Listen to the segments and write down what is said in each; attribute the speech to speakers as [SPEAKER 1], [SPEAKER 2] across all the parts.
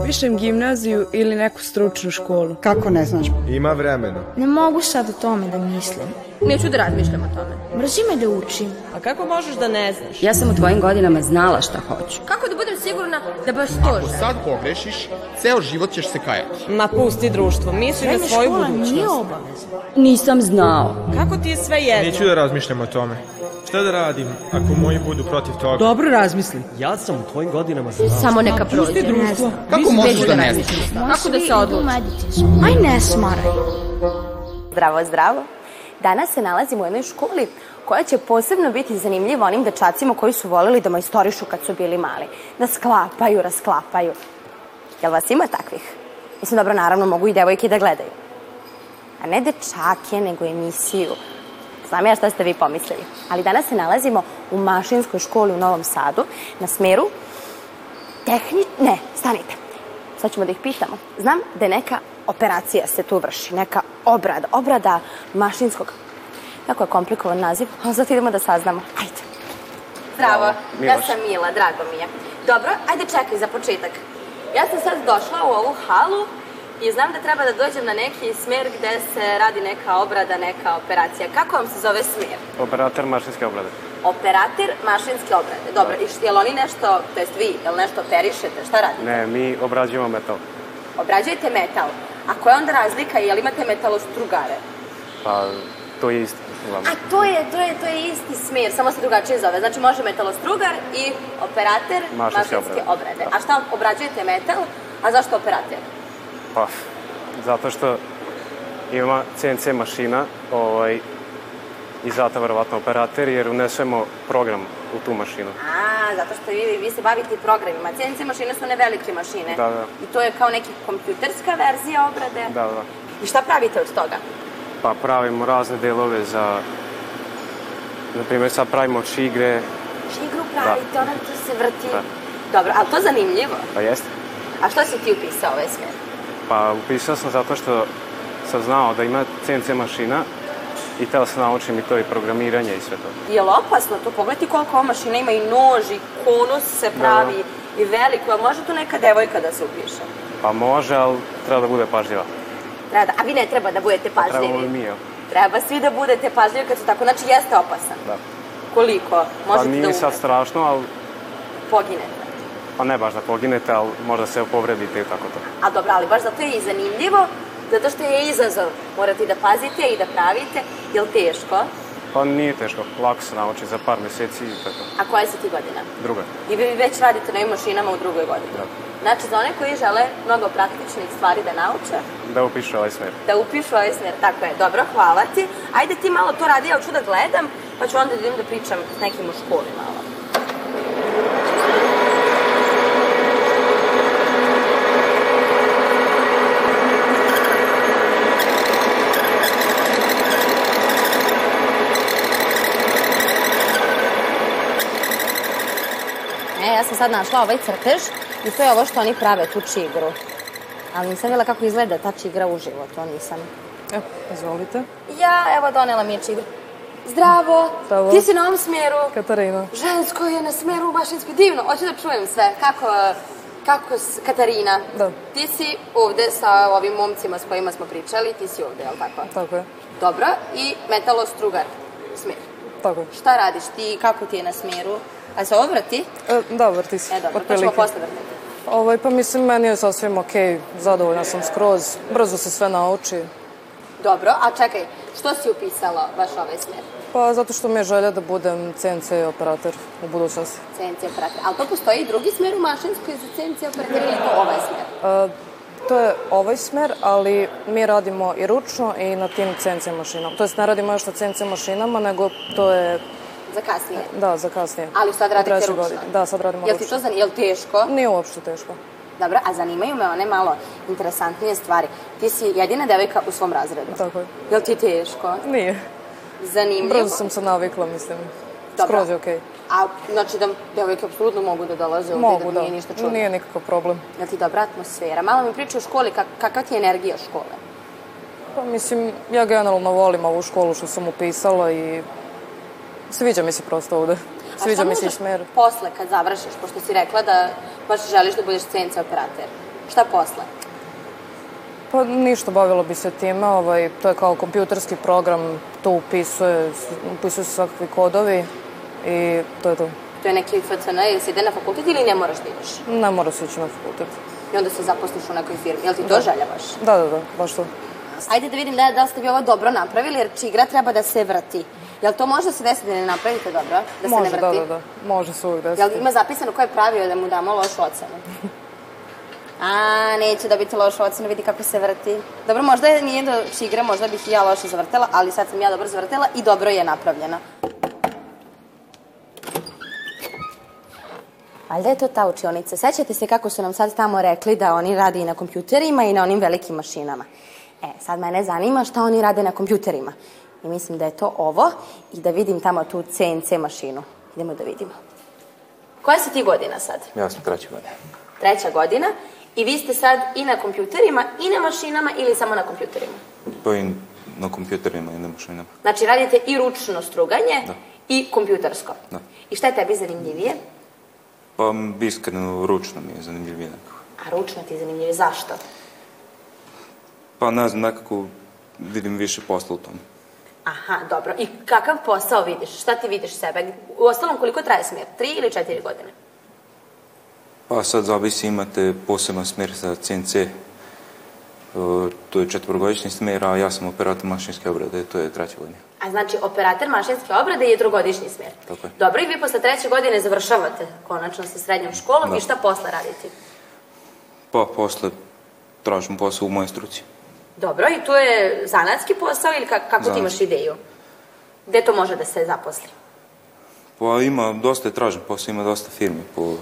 [SPEAKER 1] upišem gimnaziju ili neku stručnu školu.
[SPEAKER 2] Kako ne znaš?
[SPEAKER 3] Ima vremena.
[SPEAKER 4] Ne mogu sad o tome da mislim.
[SPEAKER 5] Neću da razmišljam o tome.
[SPEAKER 4] Mrzim me da učim.
[SPEAKER 6] A kako možeš da ne znaš?
[SPEAKER 7] Ja sam u tvojim godinama znala šta hoću.
[SPEAKER 5] Kako da budem sigurna da baš to
[SPEAKER 8] Ako
[SPEAKER 5] želim?
[SPEAKER 8] sad pogrešiš, ceo život ćeš se kajati.
[SPEAKER 6] Ma pusti društvo, misli na
[SPEAKER 4] Srednja
[SPEAKER 6] svoju
[SPEAKER 4] škola nije
[SPEAKER 6] budućnost.
[SPEAKER 4] obavezna.
[SPEAKER 7] Nisam znao.
[SPEAKER 6] Kako ti je sve jedno?
[SPEAKER 9] Neću da razmišljam o tome. Šta da radim ako moji budu protiv toga?
[SPEAKER 10] Dobro razmisli.
[SPEAKER 11] Ja sam u tvojim godinama
[SPEAKER 5] Samo neka prođe.
[SPEAKER 10] društvo.
[SPEAKER 8] Kako možeš da ne znaš?
[SPEAKER 5] Kako da se odlučim?
[SPEAKER 4] Aj ne smaraj.
[SPEAKER 12] Zdravo, zdravo. Danas se nalazimo u jednoj školi koja će posebno biti zanimljiva onim dečacima koji su volili da majstorišu kad su bili mali. Da sklapaju, rasklapaju. Jel vas ima takvih? Mislim, dobro, naravno, mogu i devojke da gledaju. A ne dečake, nego emisiju. Znam ja šta ste vi pomislili. Ali danas se nalazimo u mašinskoj školi u Novom Sadu, na smeru tehni... Ne, stanite. Sad ćemo da ih pitamo. Znam da je neka operacija se tu vrši, neka obrada, obrada mašinskog. Jako je komplikovan naziv, ali zato idemo da saznamo. Ajde.
[SPEAKER 7] Zdravo,
[SPEAKER 12] Ja sam Mila, drago mi je. Dobro, ajde čekaj za početak. Ja sam sad došla u ovu halu i znam da treba da dođem na neki smer gde se radi neka obrada, neka operacija. Kako vam se zove smer?
[SPEAKER 11] Operator mašinske obrade.
[SPEAKER 12] Operator mašinske obrade. Dobro, i š- jel oni nešto, to jest vi, jel nešto operišete, šta radite?
[SPEAKER 11] Ne, mi obrađujemo metal.
[SPEAKER 12] Obrađujete metal. A koja je onda razlika, jel imate metalostrugare?
[SPEAKER 11] Pa, to je isto. uglavnom.
[SPEAKER 12] A to je, to je, to je isti smer, samo se drugačije zove. Znači može metalostrugar i operater mašinske
[SPEAKER 11] Mašinske
[SPEAKER 12] obrade.
[SPEAKER 11] obrade.
[SPEAKER 12] A šta obrađujete metal, a zašto operater?
[SPEAKER 11] Pa, zato što ima CNC mašina ovaj, i zato verovatno operator, jer unesemo program u tu mašinu.
[SPEAKER 12] A, zato što vi, vi se bavite i programima. CNC mašine su one velike mašine.
[SPEAKER 11] Da, da.
[SPEAKER 12] I to je kao neki kompjuterska verzija obrade.
[SPEAKER 11] Da, da.
[SPEAKER 12] I šta pravite od toga?
[SPEAKER 11] Pa pravimo razne delove za... Na primjer, sad pravimo čigre.
[SPEAKER 12] Igru pravite, ona tu se vrti.
[SPEAKER 11] Da.
[SPEAKER 12] Dobro, ali to je zanimljivo.
[SPEAKER 11] Pa jeste?
[SPEAKER 12] A što si ti upisao ovaj smer?
[SPEAKER 11] Pa upisao sam zato što sam znao da ima CNC mašina i teo sam naučim i to i programiranje i sve to.
[SPEAKER 12] Je li opasno to? Pogledaj koliko ova mašina ima i nož, i konus se pravi, i veliko. A može tu neka devojka da se upiše?
[SPEAKER 11] Pa može, ali treba da bude pažljiva.
[SPEAKER 12] Treba da, a vi ne treba da budete pažljivi.
[SPEAKER 11] Trebamo i mi, jel?
[SPEAKER 12] Treba svi da budete pažljivi kad su tako. Znači, jeste opasan.
[SPEAKER 11] Da.
[SPEAKER 12] Koliko?
[SPEAKER 11] Pa
[SPEAKER 12] Možete
[SPEAKER 11] nije
[SPEAKER 12] da
[SPEAKER 11] mi
[SPEAKER 12] umrete,
[SPEAKER 11] sad strašno, ali
[SPEAKER 12] poginete.
[SPEAKER 11] pa ne baš da poginete, ali možda se povredite i tako to.
[SPEAKER 12] A dobro, ali baš zato je i zanimljivo, zato što je izazov. Morate i da pazite i da pravite. Je li teško?
[SPEAKER 11] Pa nije teško, lako se nauči za par meseci i to je to.
[SPEAKER 12] A koja si ti godina?
[SPEAKER 11] Druga.
[SPEAKER 12] I vi već radite na ovim mašinama u drugoj godini.
[SPEAKER 11] Da.
[SPEAKER 12] Znači, za one koji žele mnogo praktičnih stvari da nauče,
[SPEAKER 11] Da upišu ovaj smer.
[SPEAKER 12] da upišu ovaj smer. Tako je, dobro, hvala ti. Ajde ti malo to radi, ja hoću da gledam, pa ću onda da idem da pričam s nekim u školi malo. E, ja sam sad našla ovaj crtež i to je ovo što oni prave, tu čigru. Ali nisam videla kako izgleda ta čigra u životu, to nisam.
[SPEAKER 2] Evo, E, izvolite.
[SPEAKER 12] Ja, evo, donela mi je čigru. Zdravo,
[SPEAKER 2] Zdravo.
[SPEAKER 12] ti si na ovom smeru.
[SPEAKER 2] Katarina.
[SPEAKER 12] Žensko je na smeru mašinskoj, divno, hoću da čujem sve. Kako, kako, s- Katarina,
[SPEAKER 2] Da.
[SPEAKER 12] ti si ovde sa ovim momcima s kojima smo pričali, ti si ovde, jel tako?
[SPEAKER 2] Tako je.
[SPEAKER 12] Dobro, i metalostrugar, smer.
[SPEAKER 2] Tako je.
[SPEAKER 12] Šta radiš ti, kako ti je na smeru? A se obrati?
[SPEAKER 2] E, da, vrti se.
[SPEAKER 12] E, dobro, to ćemo
[SPEAKER 2] otprilike.
[SPEAKER 12] posle vrtati.
[SPEAKER 2] Ovaj, pa mislim, meni je sasvim okej, zadovoljna sam skroz, brzo se sve nauči.
[SPEAKER 12] Dobro, a čekaj, što si upisala baš ovaj smer?
[SPEAKER 2] Pa zato što mi je želja da budem CNC operator u budućnosti.
[SPEAKER 12] CNC operator. Ali to postoji i drugi smer u mašinskoj za CNC operator ili je to ovaj smer?
[SPEAKER 2] E, to je ovaj smer, ali mi radimo i ručno i na tim CNC mašinama. To jest ne radimo još na CNC mašinama, nego to je,
[SPEAKER 12] Za kasnije.
[SPEAKER 2] da, za kasnije.
[SPEAKER 12] Ali sad radite
[SPEAKER 2] U trećoj
[SPEAKER 12] ručno?
[SPEAKER 2] godini. Da, sad radimo
[SPEAKER 12] Jel ti
[SPEAKER 2] ručno.
[SPEAKER 12] to zan... Jel teško?
[SPEAKER 2] Nije uopšte teško.
[SPEAKER 12] Dobro, a zanimaju me one malo interesantnije stvari. Ti si jedina devojka u svom razredu.
[SPEAKER 2] Tako je.
[SPEAKER 12] Jel ti teško?
[SPEAKER 2] Nije.
[SPEAKER 12] Zanimljivo.
[SPEAKER 2] Brzo sam se navikla, mislim.
[SPEAKER 12] Dobro.
[SPEAKER 2] Skroz je okej.
[SPEAKER 12] A znači da devojke apsolutno mogu da dolaze ovde,
[SPEAKER 2] Mogu,
[SPEAKER 12] da
[SPEAKER 2] da.
[SPEAKER 12] nije ništa čudno.
[SPEAKER 2] Nije nikakav problem.
[SPEAKER 12] Jel ti dobra atmosfera? Malo mi priča o školi, kak, kakva ti je energija škole?
[SPEAKER 2] Pa mislim, ja generalno volim ovu školu što sam upisala i sviđa mi se prosto ovde.
[SPEAKER 12] A
[SPEAKER 2] Sviđa
[SPEAKER 12] šta
[SPEAKER 2] mi se i
[SPEAKER 12] možeš
[SPEAKER 2] smer.
[SPEAKER 12] Posle, kad završiš, pošto si rekla da baš želiš da budeš CNC operater. Šta posle?
[SPEAKER 2] Pa ništa, bavilo bi se time, ovaj, to je kao kompjuterski program, tu upisuje, upisuju se svakakvi kodovi i to je to.
[SPEAKER 12] To je neki FCN, jel si ide na fakultet ili ne moraš da ideš?
[SPEAKER 2] Ne mora se ići na fakultet.
[SPEAKER 12] I onda se zaposliš u nekoj firmi. Jel ti to želja baš?
[SPEAKER 2] Da, da, da, baš to.
[SPEAKER 12] Ajde da vidim da, da li ste vi ovo dobro napravili, jer čigra treba da se vrati. Jel to može da se desiti da ne napravite dobro? Da
[SPEAKER 2] Može,
[SPEAKER 12] se ne
[SPEAKER 2] da,
[SPEAKER 12] vrati?
[SPEAKER 2] da, da. Može se uvijek desiti.
[SPEAKER 12] Jel ima zapisano ko je pravio da mu damo lošu ocenu? A, neće dobiti lošu ocenu, vidi kako se vrti. Dobro, možda je nije do čigre, možda bih i ja loše zavrtela, ali sad sam ja dobro zavrtela i dobro je napravljena. Valjda je to ta učionica. Sećate se kako su nam sad tamo rekli da oni rade i na kompjuterima i na onim velikim mašinama. E, sad mene zanima šta oni rade na kompjuterima. I mislim da je to ovo i da vidim tamo tu CNC mašinu. Idemo da vidimo. Koja si ti godina sad?
[SPEAKER 13] Ja sam treći godine.
[SPEAKER 12] Treća godina. I vi ste sad i na kompjuterima i na mašinama ili samo na kompjuterima?
[SPEAKER 13] Pa i na kompjuterima i na mašinama.
[SPEAKER 12] Znači radite i ručno struganje
[SPEAKER 13] Da.
[SPEAKER 12] i kompjutersko.
[SPEAKER 13] Da.
[SPEAKER 12] I šta je tebi zanimljivije?
[SPEAKER 13] Pa m, iskreno, ručno mi je zanimljivije nekako.
[SPEAKER 12] A ručno ti je zanimljivije. Zašto?
[SPEAKER 13] Pa ne znam, nekako vidim više posla u tom.
[SPEAKER 12] Aha, dobro. I kakav posao vidiš? Šta ti vidiš sebe? U ostalom, koliko traje smjer? Tri ili četiri godine?
[SPEAKER 13] Pa sad zavisi imate poseban smjer za CNC. E, To je četvrgodišnji smjer, a ja sam operator mašinske obrade, to je treća godina.
[SPEAKER 12] A znači, operator mašinske obrade je trogodišnji smjer.
[SPEAKER 13] Tako je.
[SPEAKER 12] Dobro, i vi posle treće godine završavate konačno sa srednjom školom
[SPEAKER 13] Da.
[SPEAKER 12] i šta posle raditi?
[SPEAKER 13] Pa posle tražim posao u mojoj struci.
[SPEAKER 12] Dobro, i tu je zanatski posao ili ka- kako ti
[SPEAKER 13] Zanatski.
[SPEAKER 12] imaš ideju? Gde to može da se zaposli?
[SPEAKER 13] Pa ima, dosta je tražen posao, ima dosta firmi po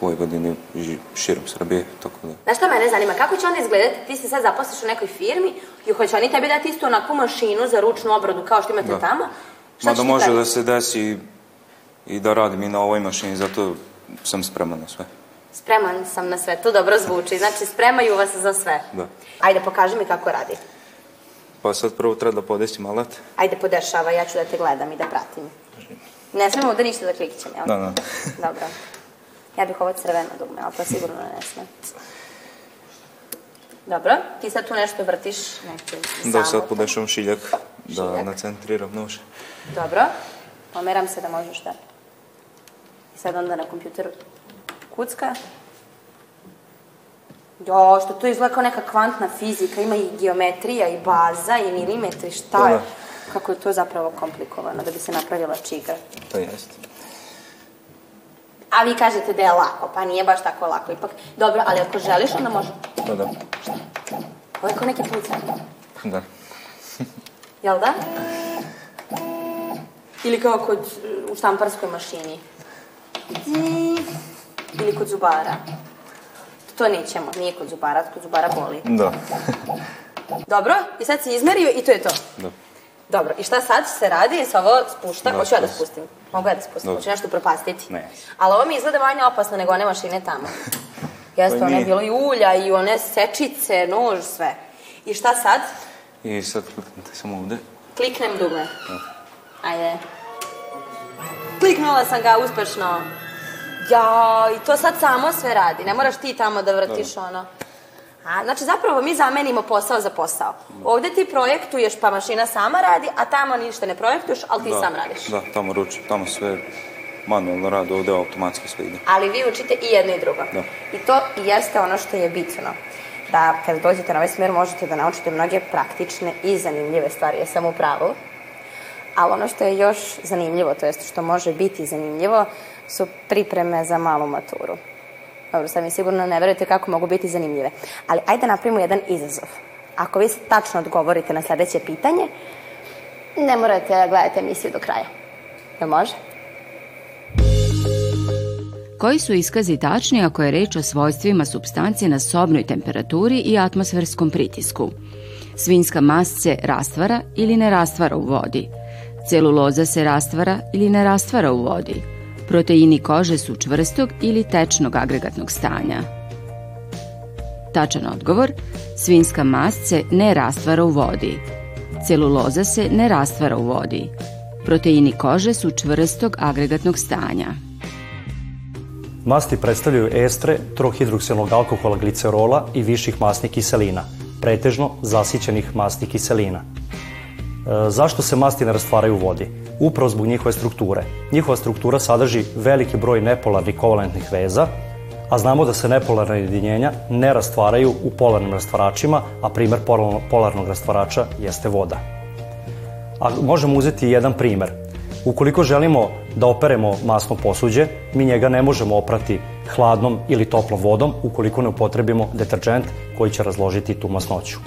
[SPEAKER 13] Vojvodini i ži- širom Srbije, tako da.
[SPEAKER 12] Znaš šta mene zanima, kako će onda izgledati, ti se sad zaposliš u nekoj firmi i hoće oni tebi dati istu onakvu mašinu za ručnu obradu kao što imate
[SPEAKER 13] Da.
[SPEAKER 12] tamo? Šta
[SPEAKER 13] Mada
[SPEAKER 12] će ti
[SPEAKER 13] može da
[SPEAKER 12] praviti?
[SPEAKER 13] se desi i da radim i na ovoj mašini, zato sam spreman na sve.
[SPEAKER 12] Spreman sam na sve, to dobro zvuči, znači spremaju vas za sve.
[SPEAKER 13] Da.
[SPEAKER 12] Ajde, pokaži mi kako radi.
[SPEAKER 13] Pa sad prvo treba da podesim alat.
[SPEAKER 12] Ajde, podešava, ja ću da te gledam i da pratim. Ne smemo ovde ništa da klikićem, jel?
[SPEAKER 13] Da, da.
[SPEAKER 12] Dobro. Ja bih ovo crveno dugme, ali to sigurno ne smem. Dobro, ti sad tu nešto vrtiš, neke
[SPEAKER 13] Da,
[SPEAKER 12] samo.
[SPEAKER 13] sad podešavam šiljak, da
[SPEAKER 12] Šiljak.
[SPEAKER 13] nacentriram nož.
[SPEAKER 12] Dobro, pomeram se da možeš da. I sad onda na kompjuteru kucka. Jo, što to izgleda kao neka kvantna fizika, ima i geometrija, i baza, i milimetri, šta je?
[SPEAKER 13] Da.
[SPEAKER 12] Kako je to zapravo komplikovano da bi se napravila čigra.
[SPEAKER 13] To jeste.
[SPEAKER 12] A vi kažete da je lako, pa nije baš tako lako ipak. Dobro, ali ako želiš, onda može.
[SPEAKER 13] Da, da.
[SPEAKER 12] Ovo je kao neki plucan,
[SPEAKER 13] Da.
[SPEAKER 12] jel da? Ili kao kod, e, u štamparskoj mašini. Ili kod zubara. To nećemo, nije kod zubara, kod zubara boli.
[SPEAKER 13] Da.
[SPEAKER 12] Dobro, i sad si izmerio i to je to.
[SPEAKER 13] Da.
[SPEAKER 12] Dobro, i šta sad se radi? Se ovo spušta?
[SPEAKER 13] Da,
[SPEAKER 12] Hoću ja da
[SPEAKER 13] spusti.
[SPEAKER 12] spustim. Mogu ja da spustim,
[SPEAKER 13] Dobro.
[SPEAKER 12] hoću nešto propastiti.
[SPEAKER 13] Ne.
[SPEAKER 12] Ali ovo mi izgleda manje opasno nego one mašine tamo. Jeste,
[SPEAKER 13] Pa
[SPEAKER 12] ono je
[SPEAKER 13] nije.
[SPEAKER 12] bilo i ulja, i one sečice, nož, sve. I šta sad?
[SPEAKER 13] I sad kliknite samo ovde.
[SPEAKER 12] Kliknem dugme. Ajde. Kliknula sam ga uspešno. Ja, i to sad samo sve radi. Ne moraš ti tamo da vrtiš ono. A, znači, zapravo mi zamenimo posao za posao. Ovde ti projektuješ pa mašina sama radi, a tamo ništa ne projektuješ, ali ti
[SPEAKER 13] da.
[SPEAKER 12] sam radiš.
[SPEAKER 13] Da, tamo ručno, tamo sve manualno radi, ovde automatski sve ide.
[SPEAKER 12] ali vi učite i jedno i drugo.
[SPEAKER 13] Da.
[SPEAKER 12] I to i jeste ono što je bitno. Da kad dođete na ovaj smjer možete da naučite mnoge praktične i zanimljive stvari, ja sam u pravu. Ali ono što je još zanimljivo, to jest što može biti zanimljivo, su pripreme za malu maturu. Dobro, sad mi sigurno ne verujete kako mogu biti zanimljive. Ali ajde napravimo jedan izazov. Ako vi tačno odgovorite na sljedeće pitanje, ne morate da gledate emisiju do kraja. Jel može?
[SPEAKER 7] Koji su iskazi tačni ako je reč o svojstvima substanci na sobnoj temperaturi i atmosferskom pritisku? Svinjska mast se rastvara ili ne rastvara u vodi? Celuloza se rastvara ili ne rastvara u vodi? Proteini kože su čvrstog ili tečnog agregatnog stanja? Tačan odgovor, svinjska mast se ne rastvara u vodi. Celuloza se ne rastvara u vodi. Proteini kože su čvrstog agregatnog stanja.
[SPEAKER 11] Masti predstavljaju estre trohidroksilnog alkohola glicerola i viših masnih kiselina, pretežno zasićenih masnih kiselina. E, zašto se masti ne rastvaraju u vodi? Upravo zbog njihove strukture. Njihova struktura sadrži veliki broj nepolarnih kovalentnih veza, a znamo da se nepolarna jedinjenja ne rastvaraju u polarnim rastvaračima, a primer polarno- polarnog rastvarača jeste voda. A možemo uzeti jedan primer. Ukoliko želimo da operemo masno posuđe, mi njega ne možemo oprati hladnom ili toplom vodom ukoliko ne upotrebimo deterđent koji će razložiti tu masnoću.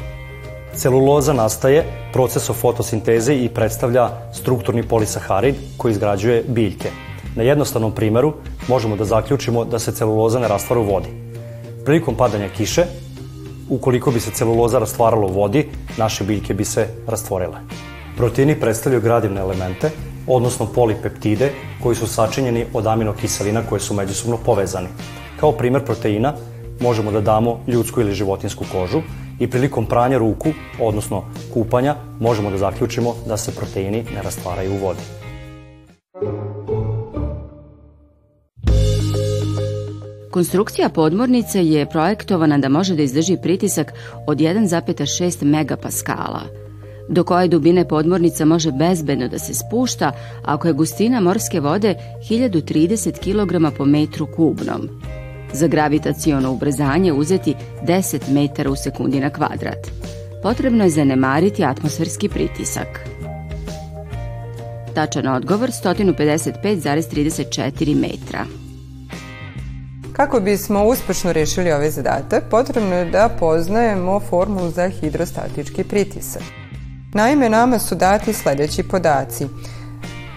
[SPEAKER 11] Celuloza nastaje procesom fotosinteze i predstavlja strukturni polisaharid koji izgrađuje biljke. Na jednostavnom primeru možemo da zaključimo da se celuloza ne rastvara u vodi. Prilikom padanja kiše, ukoliko bi se celuloza rastvarala u vodi, naše biljke bi se rastvorile. Proteini predstavljaju gradivne elemente, odnosno polipeptide koji su sačinjeni od aminokiselina koje su međusobno povezani. Kao primer proteina možemo da damo ljudsku ili životinsku kožu i prilikom pranja ruku, odnosno kupanja, možemo da zaključimo da se proteini ne rastvaraju u vodi.
[SPEAKER 7] Konstrukcija podmornice je projektovana da može da izdrži pritisak od 1,6 megapaskala, do koje dubine podmornica može bezbedno da se spušta ako je gustina morske vode 1030 kg po metru kubnom. Za gravitaciono ubrzanje uzeti 10 metara u sekundi na kvadrat. Potrebno je zanemariti atmosferski pritisak. Tačan odgovor 155,34 metra.
[SPEAKER 13] Kako bismo uspešno rješili ovaj zadatak, potrebno je da poznajemo formulu za hidrostatički pritisak. Naime, nama su dati sljedeći podaci.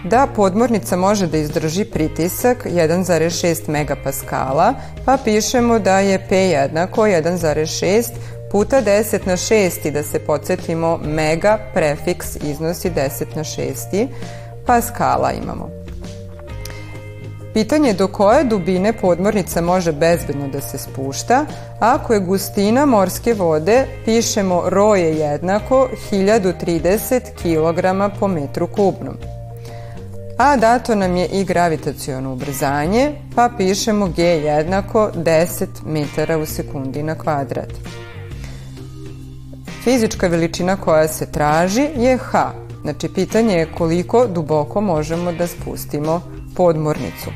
[SPEAKER 13] Da podmornica može da izdrži pritisak 1,6 megapaskala, pa pišemo da je P jednako 1,6 puta 10 na 6 da se podsjetimo mega prefiks iznosi 10 na 6 paskala imamo. Pitanje je do koje dubine podmornica može bezbedno da se spušta. Ako je gustina morske vode, pišemo ro je jednako 1030 kg po metru kubnom. A dato nam je i gravitaciono ubrzanje, pa pišemo g jednako 10 metara u sekundi na kvadrat. Fizička veličina koja se traži je h. Znači, pitanje je koliko duboko možemo da spustimo podmornicu.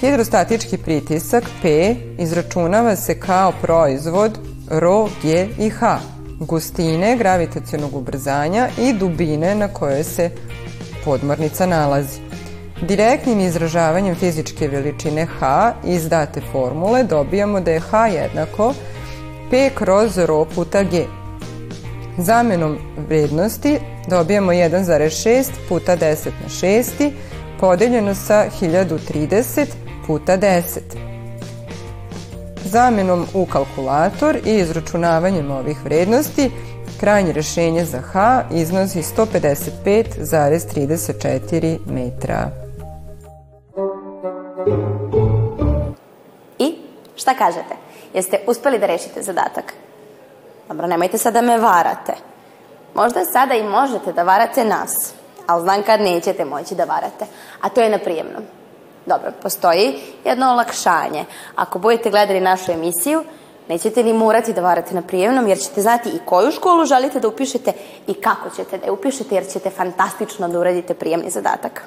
[SPEAKER 13] Hidrostatički pritisak P izračunava se kao proizvod ρ, G i H, gustine gravitacionog ubrzanja i dubine na kojoj se podmornica nalazi. Direktnim izražavanjem fizičke veličine H iz date formule dobijamo da je H jednako P kroz ρ puta G. Zamenom vrednosti dobijamo 1,6 puta 10 na 6 podeljeno sa 1030 puta 10. Zamenom u kalkulator i izračunavanjem ovih vrednosti krajnje rešenje za H iznosi 155,34 metra.
[SPEAKER 12] I šta kažete? Jeste uspeli da rešite zadatak? Dobro, nemojte sad da me varate. Možda sada i možete da varate nas, ali znam kad nećete moći da varate, a to je na prijemnom. Dobro, postoji jedno olakšanje. Ako budete gledali našu emisiju, nećete ni morati da varate na prijemnom, jer ćete znati i koju školu želite da upišete i kako ćete da je upišete, jer ćete fantastično da uradite prijemni zadatak.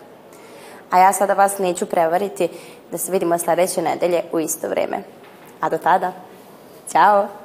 [SPEAKER 12] A ja sada vas neću prevariti da se vidimo sljedeće nedelje u isto vrijeme. A do tada, ćao!